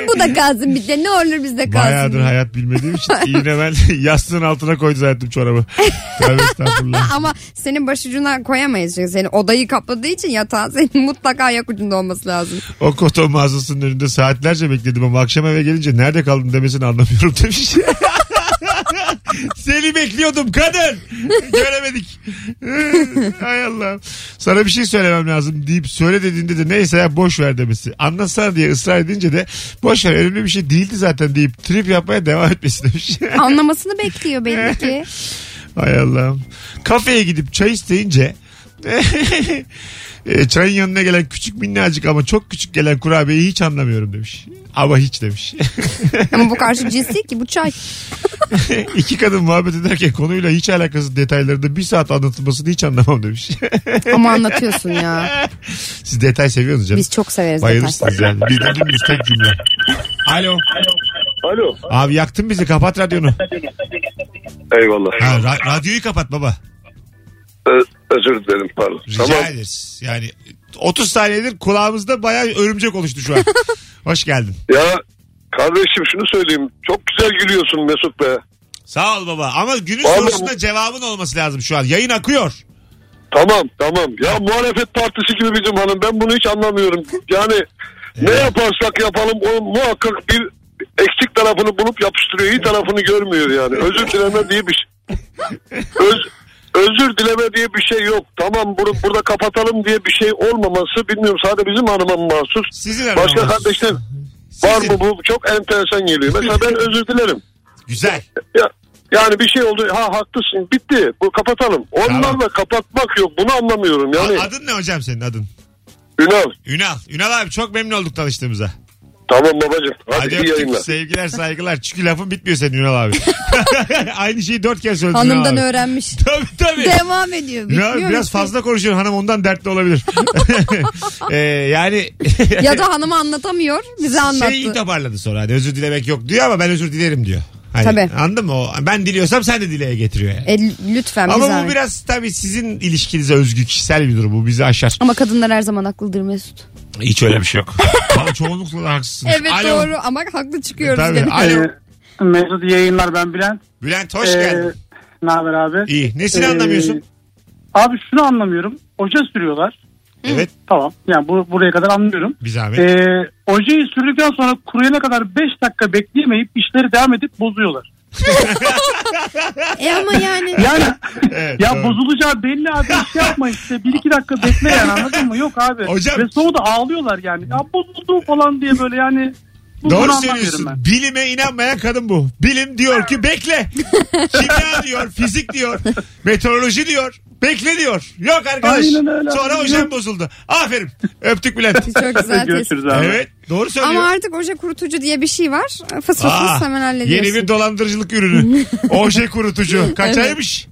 C: Bu da kalsın bizde ne olur bizde kalsın.
B: Bayağıdır hayat bilmediğim için yine ben yastığın altına koydu zannettim çorabı. Tövbe estağfurullah.
C: Ama senin başucuna koyamayız çünkü senin odayı kapladığı için yatağın senin mutlaka ayak ucunda olması lazım.
B: O koton mağazasının önünde saatlerce bekledim ama akşam eve gelince nerede kaldın demesini anlamıyorum demiş. Seni bekliyordum kadın. Göremedik. Hay Allah. Sana bir şey söylemem lazım deyip söyle dediğinde de neyse ya boş ver demesi. Anlatsana diye ısrar edince de boş ver önemli bir şey değildi zaten deyip trip yapmaya devam etmesi demiş.
C: Anlamasını bekliyor belli ki.
B: Hay Allah'ım. Kafeye gidip çay isteyince e, çayın yanına gelen küçük minnacık ama çok küçük gelen kurabiyeyi hiç anlamıyorum demiş. Ama hiç demiş.
C: Ama bu karşı cins değil ki bu çay.
B: İki kadın muhabbet ederken konuyla hiç alakasız detayları da bir saat anlatılmasını hiç anlamam demiş.
C: Ama anlatıyorsun ya.
B: Siz detay seviyorsunuz canım.
C: Biz çok severiz detay.
B: Bayılırsınız yani. Biz de dümdüz tek cümle. Alo.
L: Alo.
B: Abi yaktın bizi kapat radyonu.
L: Eyvallah.
B: Ha, ra- radyoyu kapat baba.
L: Ö- özür dilerim pardon.
B: Rica ederiz. Yani 30 saniyedir kulağımızda bayağı örümcek oluştu şu an. Hoş geldin.
L: Ya kardeşim şunu söyleyeyim. Çok güzel gülüyorsun Mesut be.
B: Sağ ol baba ama günün
L: Vallahi-
B: sorusunda cevabın olması lazım şu an. Yayın akıyor.
L: Tamam tamam. Ya muhalefet partisi gibi bizim hanım. Ben bunu hiç anlamıyorum. Yani ne yaparsak yapalım o muhakkak bir eksik tarafını bulup yapıştırıyor. İyi tarafını görmüyor yani. Özür dileme diye bir şey. Öz, özür dileme diye bir şey yok. Tamam bunu burada kapatalım diye bir şey olmaması bilmiyorum sadece bizim hanıma mı mahsus.
B: Sizin aranız.
L: Başka kardeşler var
B: Sizin.
L: mı bu? Çok enteresan geliyor. Mesela ben özür dilerim.
B: Güzel.
L: Ya, yani bir şey oldu. Ha haklısın. Bitti. Bu kapatalım. Onlarla
B: Tamam.
L: kapatmak yok. Bunu anlamıyorum. Yani
B: A- Adın ne hocam senin adın?
L: Ünal.
B: Ünal. Ünal abi çok memnun olduk tanıştığımıza.
L: Tamam babacığım. Hadi,
B: Hadi
L: iyi
B: öptük.
L: yayınlar.
B: Sevgiler saygılar. Çünkü lafın bitmiyor senin Ünal abi. Aynı şeyi dört kere söyledin Ünal
C: Hanımdan
B: abi.
C: öğrenmiş.
B: Tabii tabii.
C: Devam ediyor.
B: Ünal abi
C: bitmiyor
B: biraz
C: işte.
B: fazla konuşuyor hanım ondan dertli olabilir. Ee, yani
C: Ya da hanıma anlatamıyor
B: Şey
C: bize anlattı.
B: şeyi toparladı sonra. Hani özür dilemek yok diyor ama ben özür dilerim diyor. Hani,
C: Tabii.
B: Anladın mı? O, ben diliyorsam sen de dileye getiriyor yani.
C: E, lütfen bize
B: Ama bu
C: anlat.
B: biraz tabii sizin ilişkinize özgü kişisel bir durum. Bu bizi aşar.
C: Ama kadınlar her zaman haklıdır Mesut.
B: Hiç öyle bir şey yok. Ama çoğunlukla da haklısınız.
C: Evet
B: Alo. E,
C: doğru ama haklı çıkıyoruz.
B: Tabii.
C: gene.
B: Alo.
G: Ee, Mesut iyi yayınlar ben Bülent. Ee,
B: Bülent hoş geldin.
G: Ne haber abi?
B: İyi. Nesini
G: Ee,
B: anlamıyorsun?
G: Abi şunu anlamıyorum. Oca sürüyorlar.
B: Evet
G: Tamam. Yani bu buraya kadar anlıyorum.
B: bir zahmet.
G: Ee, ojeyi sürdükten sonra kuruyana kadar 5 dakika bekleyemeyip işleri devam edip bozuyorlar.
C: E ama yani.
G: Yani
B: Evet,
G: ya
B: doğru.
G: bozulacağı belli abi iş yapma işte 1-2 dakika bekle yani anladın mı? Yok abi.
B: Hocam-
G: Ve sonra da ağlıyorlar yani. Ya bozuldu falan diye böyle yani. bu- bunu
B: Doğru
G: anlamıyorum
B: söylüyorsun.
G: ben.
B: Bilime inanmayan kadın bu. Bilim diyor ki bekle. Kimya diyor, fizik diyor, meteoroloji diyor. Bekle diyor. Yok arkadaş.
G: Aynen öyle.
B: Sonra hocam bozuldu. Aferin. Öptük Bülent.
C: Çok güzel tespit.
G: Görüşürüz abi.
B: evet doğru söylüyor.
C: Ama artık oje kurutucu diye bir şey var. Fıs fıs
B: Aa,
C: fıs hemen hallediyorsun.
B: yeni bir dolandırıcılık ürünü. Oje kurutucu. Kaç aymış?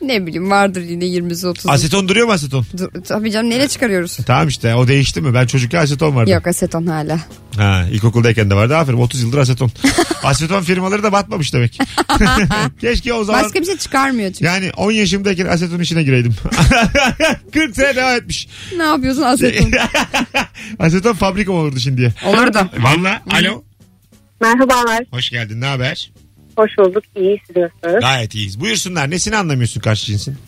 C: Ne bileyim vardır yine 20'si 30'u.
B: Aseton duruyor mu aseton?
C: Du- Tabii canım neyle çıkarıyoruz?
B: Tamam işte o değişti mi? Ben çocukken aseton vardı.
C: Yok aseton hala.
B: Ha, ilkokuldayken de vardı. Aferin 30 yıldır aseton. aseton firmaları da batmamış demek. Keşke o zaman
C: Başka bir şey çıkarmıyor çünkü.
B: yani 10 yaşımdayken aseton işine gireydim. 40 sene devam etmiş.
C: Ne yapıyorsun aseton?
B: aseton fabrika mı olurdu şimdiye?
C: Olur da.
B: Valla alo.
I: Merhabalar.
B: Hoş geldin ne haber?
I: Hoş bulduk. İyi siz nasılsınız?
B: Gayet iyiyiz. Buyursunlar nesini anlamıyorsun karşı cinsin?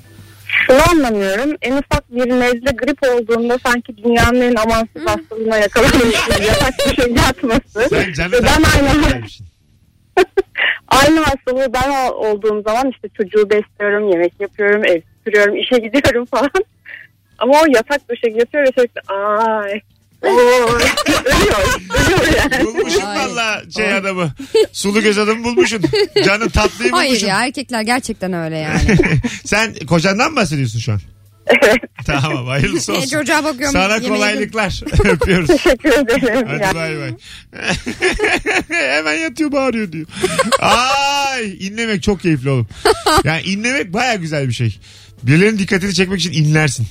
I: Şunu anlamıyorum. En ufak bir nezle grip olduğunda sanki dünyanın en amansız hastalığına yakalanmışsın. Yatak köşeye yatması.
B: Sen canı
I: Ve ben
B: takip
I: aynı
B: etmişsin.
I: Aynı hastalığı ben ol- olduğum zaman işte çocuğu besliyorum, yemek yapıyorum, ev süpürüyorum, işe gidiyorum falan. Ama o yatak döşek yatıyor ve sürekli ay, oy, ölüyor, ölüyor yani.
B: Bulmuşsun
C: Ay.
B: valla şey adamı. Sulu göz adamı bulmuşsun. Canı tatlıyı
C: Hayır
B: bulmuşsun.
C: ya erkekler gerçekten öyle yani.
B: Sen kocandan mı bahsediyorsun şu an?
I: Evet,
B: Tamam hayırlısı
C: E,
B: olsun.
C: Çocuğa bakıyorum.
B: Sana
C: yemeği-
B: kolaylıklar. Öpüyoruz.
I: teşekkür ederim.
B: Hadi bay bay. Hemen yatıyor bağırıyor diyor. Ay inlemek çok keyifli oğlum. Yani inlemek baya güzel bir şey. Birilerinin dikkatini çekmek için inlersin.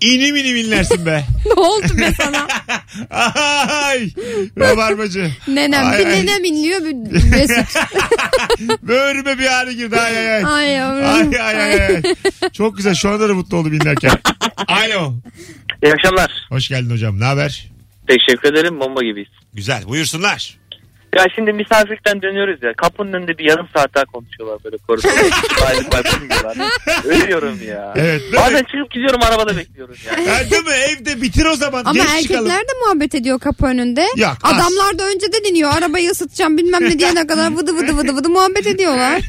B: İnim inim inlersin be.
C: ne oldu be sana?
B: Ay rabarbacı.
C: Nenem.
B: Ay,
C: bir
B: ay.
C: nenem inliyor bir Mesut.
B: Böğrüme bir ağrı girdi ay ay ay.
C: Ay yavrum.
B: Ay ay ay. ay. Çok güzel şu anda da mutlu oldum inlerken. Alo.
G: İyi akşamlar.
B: Hoş geldin hocam ne haber?
G: Teşekkür ederim bomba gibiyiz.
B: Güzel buyursunlar.
G: Ya şimdi misafirlikten dönüyoruz ya. Kapının önünde bir yarım saat daha konuşuyorlar böyle koridorda. Aylık balkon diyorlar. Ölüyorum ya.
B: Evet. değil mi?
G: Bazen çıkıp gidiyorum arabada bekliyorum ya.
B: Ha, değil mi? Evde bitir o zaman.
C: Ama
B: Geç
C: erkekler
B: çıkalım.
C: de muhabbet ediyor kapı önünde.
B: Yok, az.
C: Adamlar da önceden iniyor. Arabayı ısıtacağım bilmem ne diyene kadar vıdı vıdı vıdı vıdı muhabbet ediyorlar.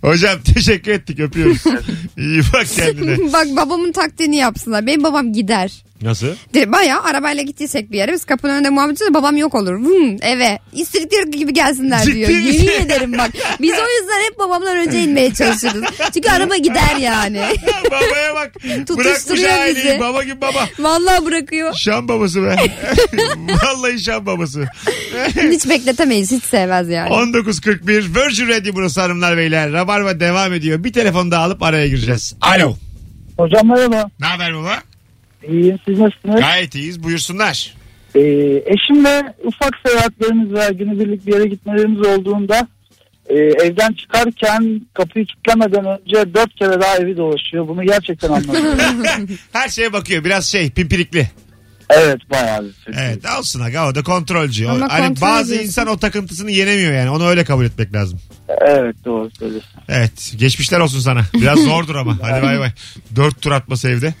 B: Hocam teşekkür ettik öpüyoruz. İyi bak kendine.
C: Bak babamın taktiğini yapsınlar. Benim babam gider.
B: Nasıl?
C: De- Bayağı arabayla gittiysek bir yere biz kapının önünde muhabbet ediyoruz. Babam yok olur. Vum, eve. İstedikleri gibi gelsinler
B: Ciddi
C: diyor.
B: misin?
C: Yemin ederim bak. Biz o yüzden hep babamdan önce inmeye çalışırız. Çünkü araba gider yani.
B: Babaya bak. Bırakmış
C: Tutuşturuyor
B: aileyi.
C: bizi.
B: Baba gibi baba.
C: Vallahi bırakıyor.
B: Şam babası be. Vallahi şam babası.
C: Hiç bekletemeyiz. Hiç sevmez yani.
B: 19.41 Virgin Radio burası hanımlar beyler. Rabarba devam ediyor. Bir telefon daha alıp araya gireceğiz. Alo.
M: Hocam merhaba.
B: Ne haber baba?
M: İyiyim siz nasılsınız?
B: Gayet iyiyiz buyursunlar.
M: Ee, eşimle ufak seyahatlerimiz veya günübirlik bir yere gitmelerimiz olduğunda e, evden çıkarken kapıyı kilitlemeden önce dört kere daha evi dolaşıyor. Bunu gerçekten anlamıyorum.
B: Her şeye bakıyor biraz şey pimpirikli.
M: evet bayağı bir sürü.
B: Evet olsun aga o da kontrolcü. O-
C: Ama
B: hani
C: kontrol
B: bazı
C: ediyorsun.
B: insan o takıntısını yenemiyor yani onu öyle kabul etmek lazım.
M: Evet doğru söylüyorsun.
B: Evet geçmişler olsun sana. Biraz zordur ama hadi bay bay. Dört tur atması evde.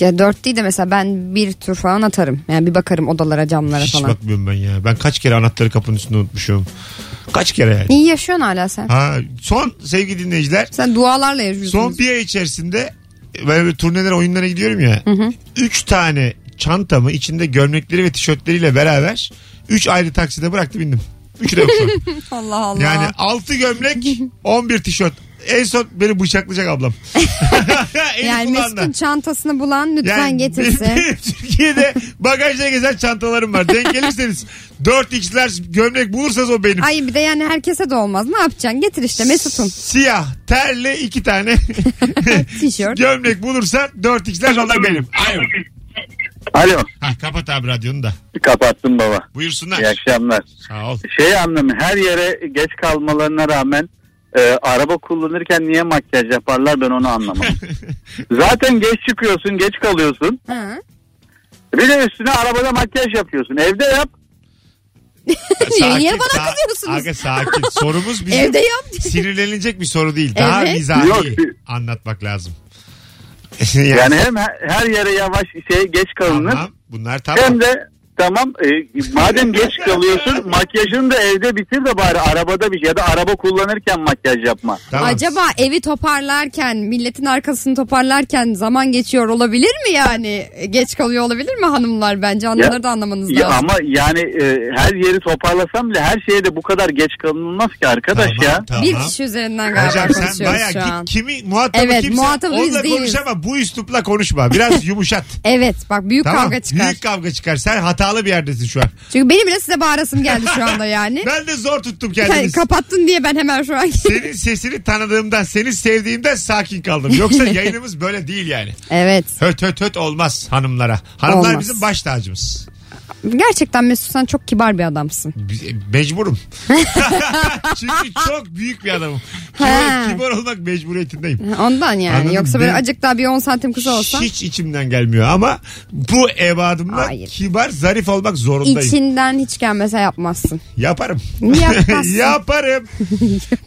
C: Ya dört değil de mesela ben bir tur falan atarım. Yani bir bakarım odalara camlara
B: Hiç
C: falan.
B: bakmıyorum ben ya. Ben kaç kere anahtarı kapının üstünde unutmuşum. Kaç kere yani.
C: İyi yaşıyorsun hala sen.
B: Ha, son sevgili dinleyiciler
C: Sen dualarla yaşıyorsun.
B: son bir ay içerisinde ben böyle turnelere oyunlara gidiyorum ya. Üç tane çantamı içinde gömlekleri ve tişörtleriyle beraber üç ayrı takside bıraktı bindim. Üçü de yok şu an.
C: Allah Allah.
B: Yani 6 gömlek 11 tişört. En son beni bıçaklayacak ablam. Eli
C: yani
B: kulağında.
C: Mesut'un çantasını bulan lütfen
B: Yani benim-
C: getirsin.
B: benim Türkiye'de bagajda gezen çantalarım var. Denk gelirseniz 4x'ler gömlek bulursanız o benim.
C: Ay bir de yani herkese de olmaz. Ne yapacaksın? Getir işte Mesut'un
B: Siyah terli iki tane
C: tişört.
B: gömlek bulursan 4x'ler onlar benim. Alo.
M: Alo
B: Ha, kapat abi radyonu da.
M: kapattım baba.
B: Buyursunlar.
M: İyi akşamlar.
B: Sağ ol.
M: Şey anlamı her yere geç kalmalarına rağmen e, araba kullanırken niye makyaj yaparlar ben onu anlamadım. Zaten geç çıkıyorsun geç kalıyorsun.
C: Ha.
M: Bir de üstüne arabada makyaj yapıyorsun. Evde yap.
C: Niye bana
B: sa-
C: kızıyorsunuz?
B: Aga sakin. Sorumuz bizim
C: Evde yap.
B: sinirlenilecek bir soru değil. Daha
C: Evet.
B: mizahi
M: Yok, bir-
B: anlatmak lazım. yani,
M: Yani hem her- her yere yavaş şey geç kalınır.
B: tamam. Bunlar tamam.
M: Hem de tamam e, madem geç kalıyorsun makyajını da evde bitir de bari arabada
L: şey
M: bir ya da araba kullanırken makyaj yapma.
B: Tamam.
C: Acaba evi toparlarken, milletin arkasını toparlarken zaman geçiyor olabilir mi yani? Geç kalıyor olabilir mi hanımlar bence? Onları da anlamanız
M: Ya
C: lazım.
M: ama yani e, her yeri toparlasam bile her şeye de bu kadar geç kalınılmaz ki arkadaş
B: Tamam,
M: ya.
B: tamam.
C: Bir kişi üzerinden galiba
B: Hocam sen
C: konuşuyoruz
B: bayağı
C: şu an.
B: git kimi muhatabı
C: Evet,
B: kimse
C: muhatabı biz
B: onunla
C: değiliz.
B: konuş ama bu üslupla konuşma. Biraz yumuşat.
C: Evet bak büyük
B: tamam.
C: kavga çıkar.
B: Büyük kavga çıkar. Sen hatalı bir yerdesin şu an.
C: Çünkü benim bile size bağırasım geldi şu anda yani.
B: Ben de zor tuttum
C: Ka-
B: kendimi.
C: Kapattın diye ben hemen şu an.
B: senin sesini tanıdığımdan, seni sevdiğimden sakin kaldım. Yoksa yayınımız böyle değil yani.
C: evet.
B: Höt höt höt olmaz hanımlara. Hanımlar
C: Olmaz.
B: bizim baş tacımız.
C: Gerçekten Mesut sen
B: e,
C: çok kibar bir adamsın.
B: Mecburum. Çünkü çok büyük bir adamım. Kibar,
C: He.
B: kibar olmak mecburiyetindeyim.
C: Ondan yani.
B: Anladım.
C: Yoksa böyle
B: Benim-
C: acık daha bir 10 santim kısa olsa.
B: Hiç içimden gelmiyor ama bu evadımla
C: Hayır.
B: kibar, zarif olmak zorundayım.
C: İçinden hiç gelmese yapmazsın.
B: Yaparım.
C: Yapmazsın.
B: Yaparım.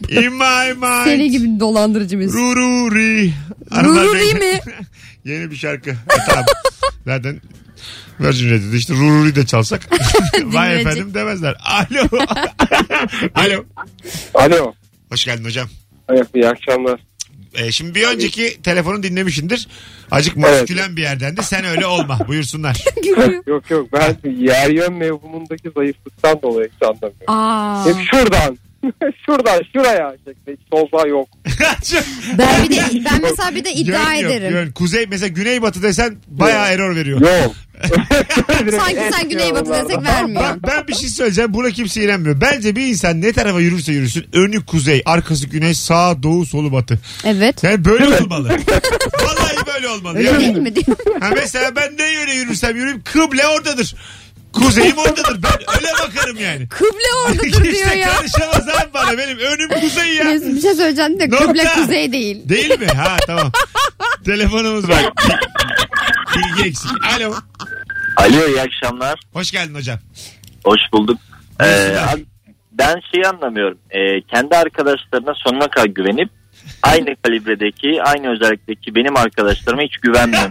B: In my mind.
C: Seri gibi dolandırıcı bir
B: Rururi. Hanımlar,
C: Rururi
B: beyler.
C: mi?
B: Yeni bir şarkı. Ha, tamam. Zaten Virgin Radio'da işte Rururi de çalsak. Vay
C: Dinlenecek.
B: efendim demezler. Alo. Alo.
G: Alo.
B: Hoş geldin hocam.
G: Evet, iyi akşamlar.
B: Ee, şimdi bir önceki telefonu dinlemişindir. Acık
G: Evet.
B: maskülen bir yerden de sen öyle olma. Buyursunlar.
C: gülüyor.
G: Yok yok ben yer yön mevhumundaki zayıflıktan dolayı hiç anlamıyorum.
C: Aa.
G: Hep şuradan. şuradan şuraya. şeklinde Hiç solda yok.
B: Çok-
C: Ben bir de ben mesela bir de iddia
B: Yön yok,
C: ederim.
B: yön. Kuzey mesela güneybatı desen bayağı error veriyor.
G: Yok.
C: Sanki sen Güneybatı desek vermiyor.
B: Bak ben bir şey söyleyeceğim. Buna kimse inanmıyor. Bence bir insan ne tarafa yürürse yürüsün önü kuzey, arkası güney, sağ, doğu, solu, batı.
C: Evet.
B: Yani böyle olmalı. Vallahi böyle olmalı. ya.
C: Değil mi? Değil mi?
B: Ha mesela ben ne yöne yürürsem yürüyeyim kıble oradadır. Kuzeyim oradadır. Ben öyle bakarım yani.
C: Kıble oradadır diyor
B: Kimse
C: ya.
B: karışamaz abi bana. Benim önüm kuzey ya.
C: Mesut, Bir şey söyleyeceğim de
B: Nokta.
C: kıble kuzey değil.
B: Değil mi? Ha tamam. Telefonumuz var. Bilgi eksik. Alo.
K: Alo iyi akşamlar.
B: Hoş geldin hocam.
K: Hoş bulduk. Ee,
B: Buyursunlar.
K: abi, ben şeyi anlamıyorum. Ee, kendi arkadaşlarına sonuna kadar güvenip aynı kalibredeki, aynı özellikteki benim arkadaşlarıma hiç güvenmem.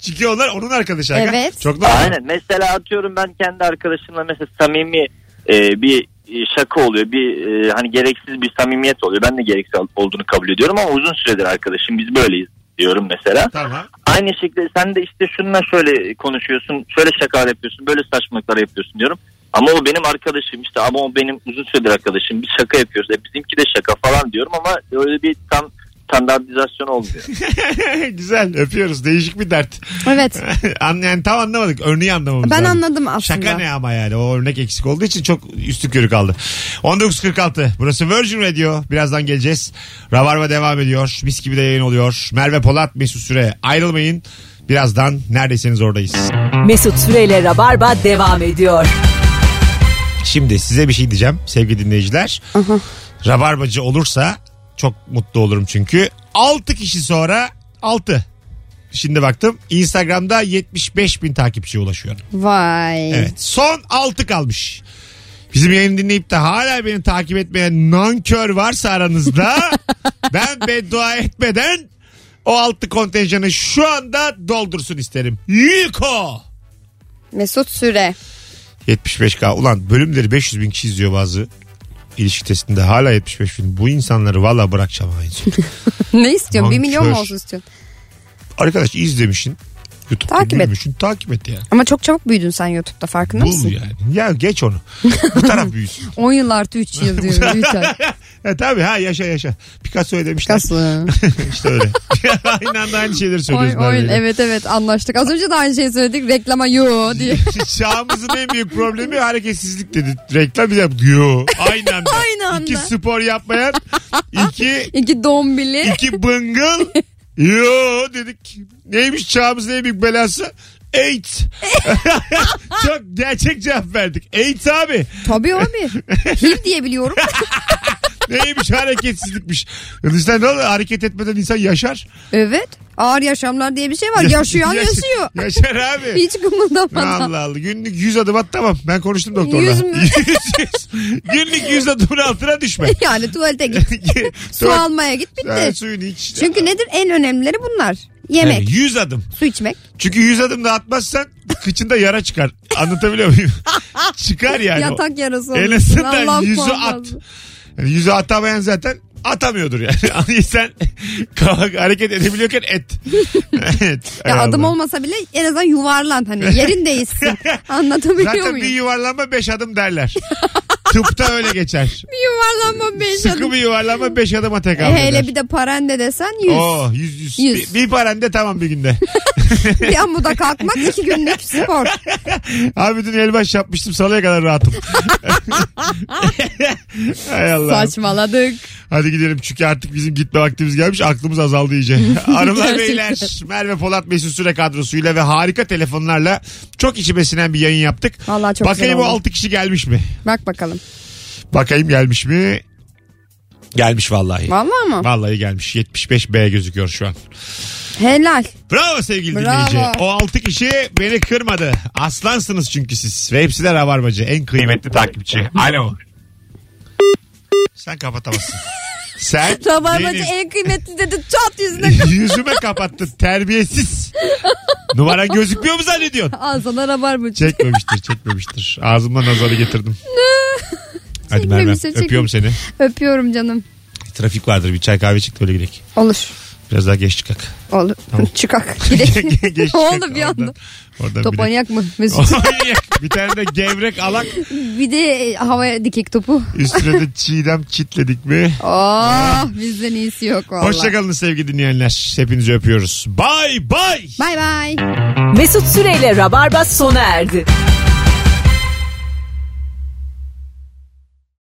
B: Çünkü onlar onun arkadaşı. aga.
C: Evet.
B: Çok normal.
K: Aynen. Mesela atıyorum ben kendi arkadaşımla mesela samimi e, bir e, şaka oluyor. Bir e, hani gereksiz bir samimiyet oluyor. Ben de gereksiz olduğunu kabul ediyorum ama uzun süredir arkadaşım biz böyleyiz diyorum mesela.
B: Tamam.
K: Aynı şekilde sen de işte şununla şöyle konuşuyorsun, şöyle şakalar yapıyorsun, böyle saçmalıklar yapıyorsun diyorum. Ama o benim arkadaşım işte ama o benim uzun süredir arkadaşım biz şaka yapıyoruz. E bizimki de şaka falan diyorum ama öyle bir tam standartizasyon olmuyor.
B: Güzel öpüyoruz. Değişik bir dert.
C: Evet.
B: An- yani tam anlamadık. Örneği anlamamız
C: Ben
B: lazım.
C: anladım aslında.
B: Şaka ne ama yani o örnek eksik olduğu için çok üstü körü kaldı. 19.46 burası Virgin Radio. Birazdan geleceğiz. Rabarba devam ediyor. Mis gibi de yayın oluyor. Merve Polat Mesut Süre ayrılmayın. Birazdan neredeyseniz oradayız.
A: Mesut Süreyle Rabarba devam ediyor.
B: Şimdi size bir şey diyeceğim sevgili dinleyiciler. Rabarbacı olursa çok mutlu olurum çünkü. 6 kişi sonra 6. Şimdi baktım Instagram'da 75 bin takipçiye ulaşıyorum.
C: Vay.
B: Evet. Son 6 kalmış. Bizim yayını dinleyip de hala beni takip etmeyen nankör varsa aranızda ben beddua etmeden o 6 kontenjanı şu anda doldursun isterim. Yuko!
C: Mesut Süre.
B: 75k. Ulan bölümleri 500 bin kişi izliyor bazı ilişki testinde. Hala 75 bin. Bu insanları valla bırakacağım. ha en son.
C: ne istiyorsun? Bir
B: Nankör.
C: milyon mu olsun istiyorsun?
B: Arkadaş izlemişsin. YouTube'da
C: Takip et.
B: gülmüşsün, Takip et yani.
C: Ama çok çabuk büyüdün sen YouTube'da farkında
B: Bul
C: mısın?
B: yani. Ya geç onu. Bu taraf büyüsün.
C: 10 yıl artı 3 yıl diyor. 3 ay.
B: e tabii ha yaşa yaşa. Picasso'ya demişler.
C: Nasıl?
B: işte öyle. aynı anda aynı şeyleri
C: Oy,
B: söylüyoruz.
C: oy,
B: Merve'yle.
C: evet evet anlaştık. Az önce de aynı şeyi söyledik. Reklama yo diye.
B: Çağımızın en büyük problemi hareketsizlik dedi. Reklam bir de yo. Aynı anda.
C: Aynı anda.
B: İki spor yapmayan, iki,
C: İki dombili.
B: iki bıngıl. Yo dedik. Neymiş çağımızın en büyük belası? AIDS. Çok gerçek cevap verdik. AIDS abi.
C: Tabii abi. Hiv diye biliyorum.
B: Neymiş hareketsizlikmiş. Hindistan ne oluyor? Hareket etmeden insan yaşar.
C: Evet. Ağır yaşamlar diye bir şey var. Yaşayan
B: Yaş-
C: yaşıyor.
B: Yaşar abi.
C: Hiç kımıldamadan.
B: Allah Allah. Günlük 100 adım at tamam. Ben konuştum doktorla.
C: Yüz mü?
B: Yüz, yüz. Günlük 100 adımın altına düşme.
C: Yani tuvalete git. Su
B: Dört-
C: almaya git
B: Ha,
C: bitti.
B: suyunu iç.
C: Çünkü nedir? En önemlileri bunlar.
B: Yani
C: Yemek,
B: 100 adım.
C: su içmek.
B: Çünkü 100 adım da atmazsan kıçında yara çıkar. Anlatabiliyor muyum? çıkar yani.
C: Yatak yarası
B: En
C: olursun.
B: azından
C: Allah'ım
B: yüzü at.
C: muhafaza.
B: Yani yüzü atamayan zaten atamıyordur yani. Hani Sen hareket edebiliyorken et. evet,
C: Ya
B: Hay
C: adım
B: Allah.
C: olmasa bile en azından yuvarlan hani yerin değişsin. Anlatabiliyor
B: Zaten
C: muyum?
B: bir yuvarlanma 5 adım derler. Tıpta öyle geçer.
C: Bir yuvarlanma beş
B: Sıkı
C: adım. E,
B: bir yuvarlanma 5 adıma tekabül eder.
C: Hele bir de parende desen yüz.
B: Oo, Oh, yüz yüz.
C: Yüz.
B: Bir, bir parende tamam bir günde.
C: Bir amuda kalkmak iki günlük spor.
B: Abi dün elbaş yapmıştım salıya kadar rahatım. Hay Allah.
C: Saçmaladık.
B: Hadi gidelim çünkü artık bizim gitme vaktimiz gelmiş. Aklımız azaldı iyice. Hanımlar
C: Gerçekten.
B: beyler Merve Polat Mesut Süre kadrosuyla ve harika telefonlarla çok içime sinen bir yayın yaptık.
C: Vallahi çok güzel
B: Bakayım o
C: oldu.
B: 6 kişi gelmiş mi?
C: Bak bakalım.
B: Bakayım gelmiş mi? Gelmiş vallahi.
C: Vallahi mı?
B: Vallahi gelmiş. 75B gözüküyor şu an.
C: Helal.
B: Bravo sevgili
C: Bravo.
B: dinleyici. O 6 kişi beni kırmadı. Aslansınız çünkü siz. Ve hepsi de rabarbacı. En kıymetli takipçi. Alo. Sen kapatamazsın. Sen
C: Rabarbacı
B: benim-
C: en kıymetli dedi çat yüzüne.
B: yüzüme kapattın terbiyesiz. Numara gözükmüyor mu zannediyorsun?
C: Al sana rabarbacı.
B: Çekmemiştir çekmemiştir. Ağzımdan nazarı getirdim. Hadi
C: Çekmemiştir,
B: Merve
C: çekmemiş.
B: öpüyorum seni.
C: Öpüyorum canım.
B: Trafik vardır bir çay kahve çıktı öyle gidelim.
C: Olur.
B: Biraz daha geç çıkak.
C: Olur.
B: Tamam.
C: Çıkak. Gidelim.
B: geç
C: Ne oldu
B: çıkak,
C: bir anda?
B: oradan- oradan
C: Top
B: bir de-
C: manyak mı? Mesut.
B: Manyak. bir tane de gevrek alak
C: bir de e, havaya dikik topu.
B: üstüne de çiğdem çitledik mi?
C: Oh bizden iyisi yok valla.
B: Hoşçakalın sevgili dinleyenler. Hepinizi öpüyoruz. Bay bay.
C: Bay bay.
A: Mesut Süreyle Rabarba sona erdi.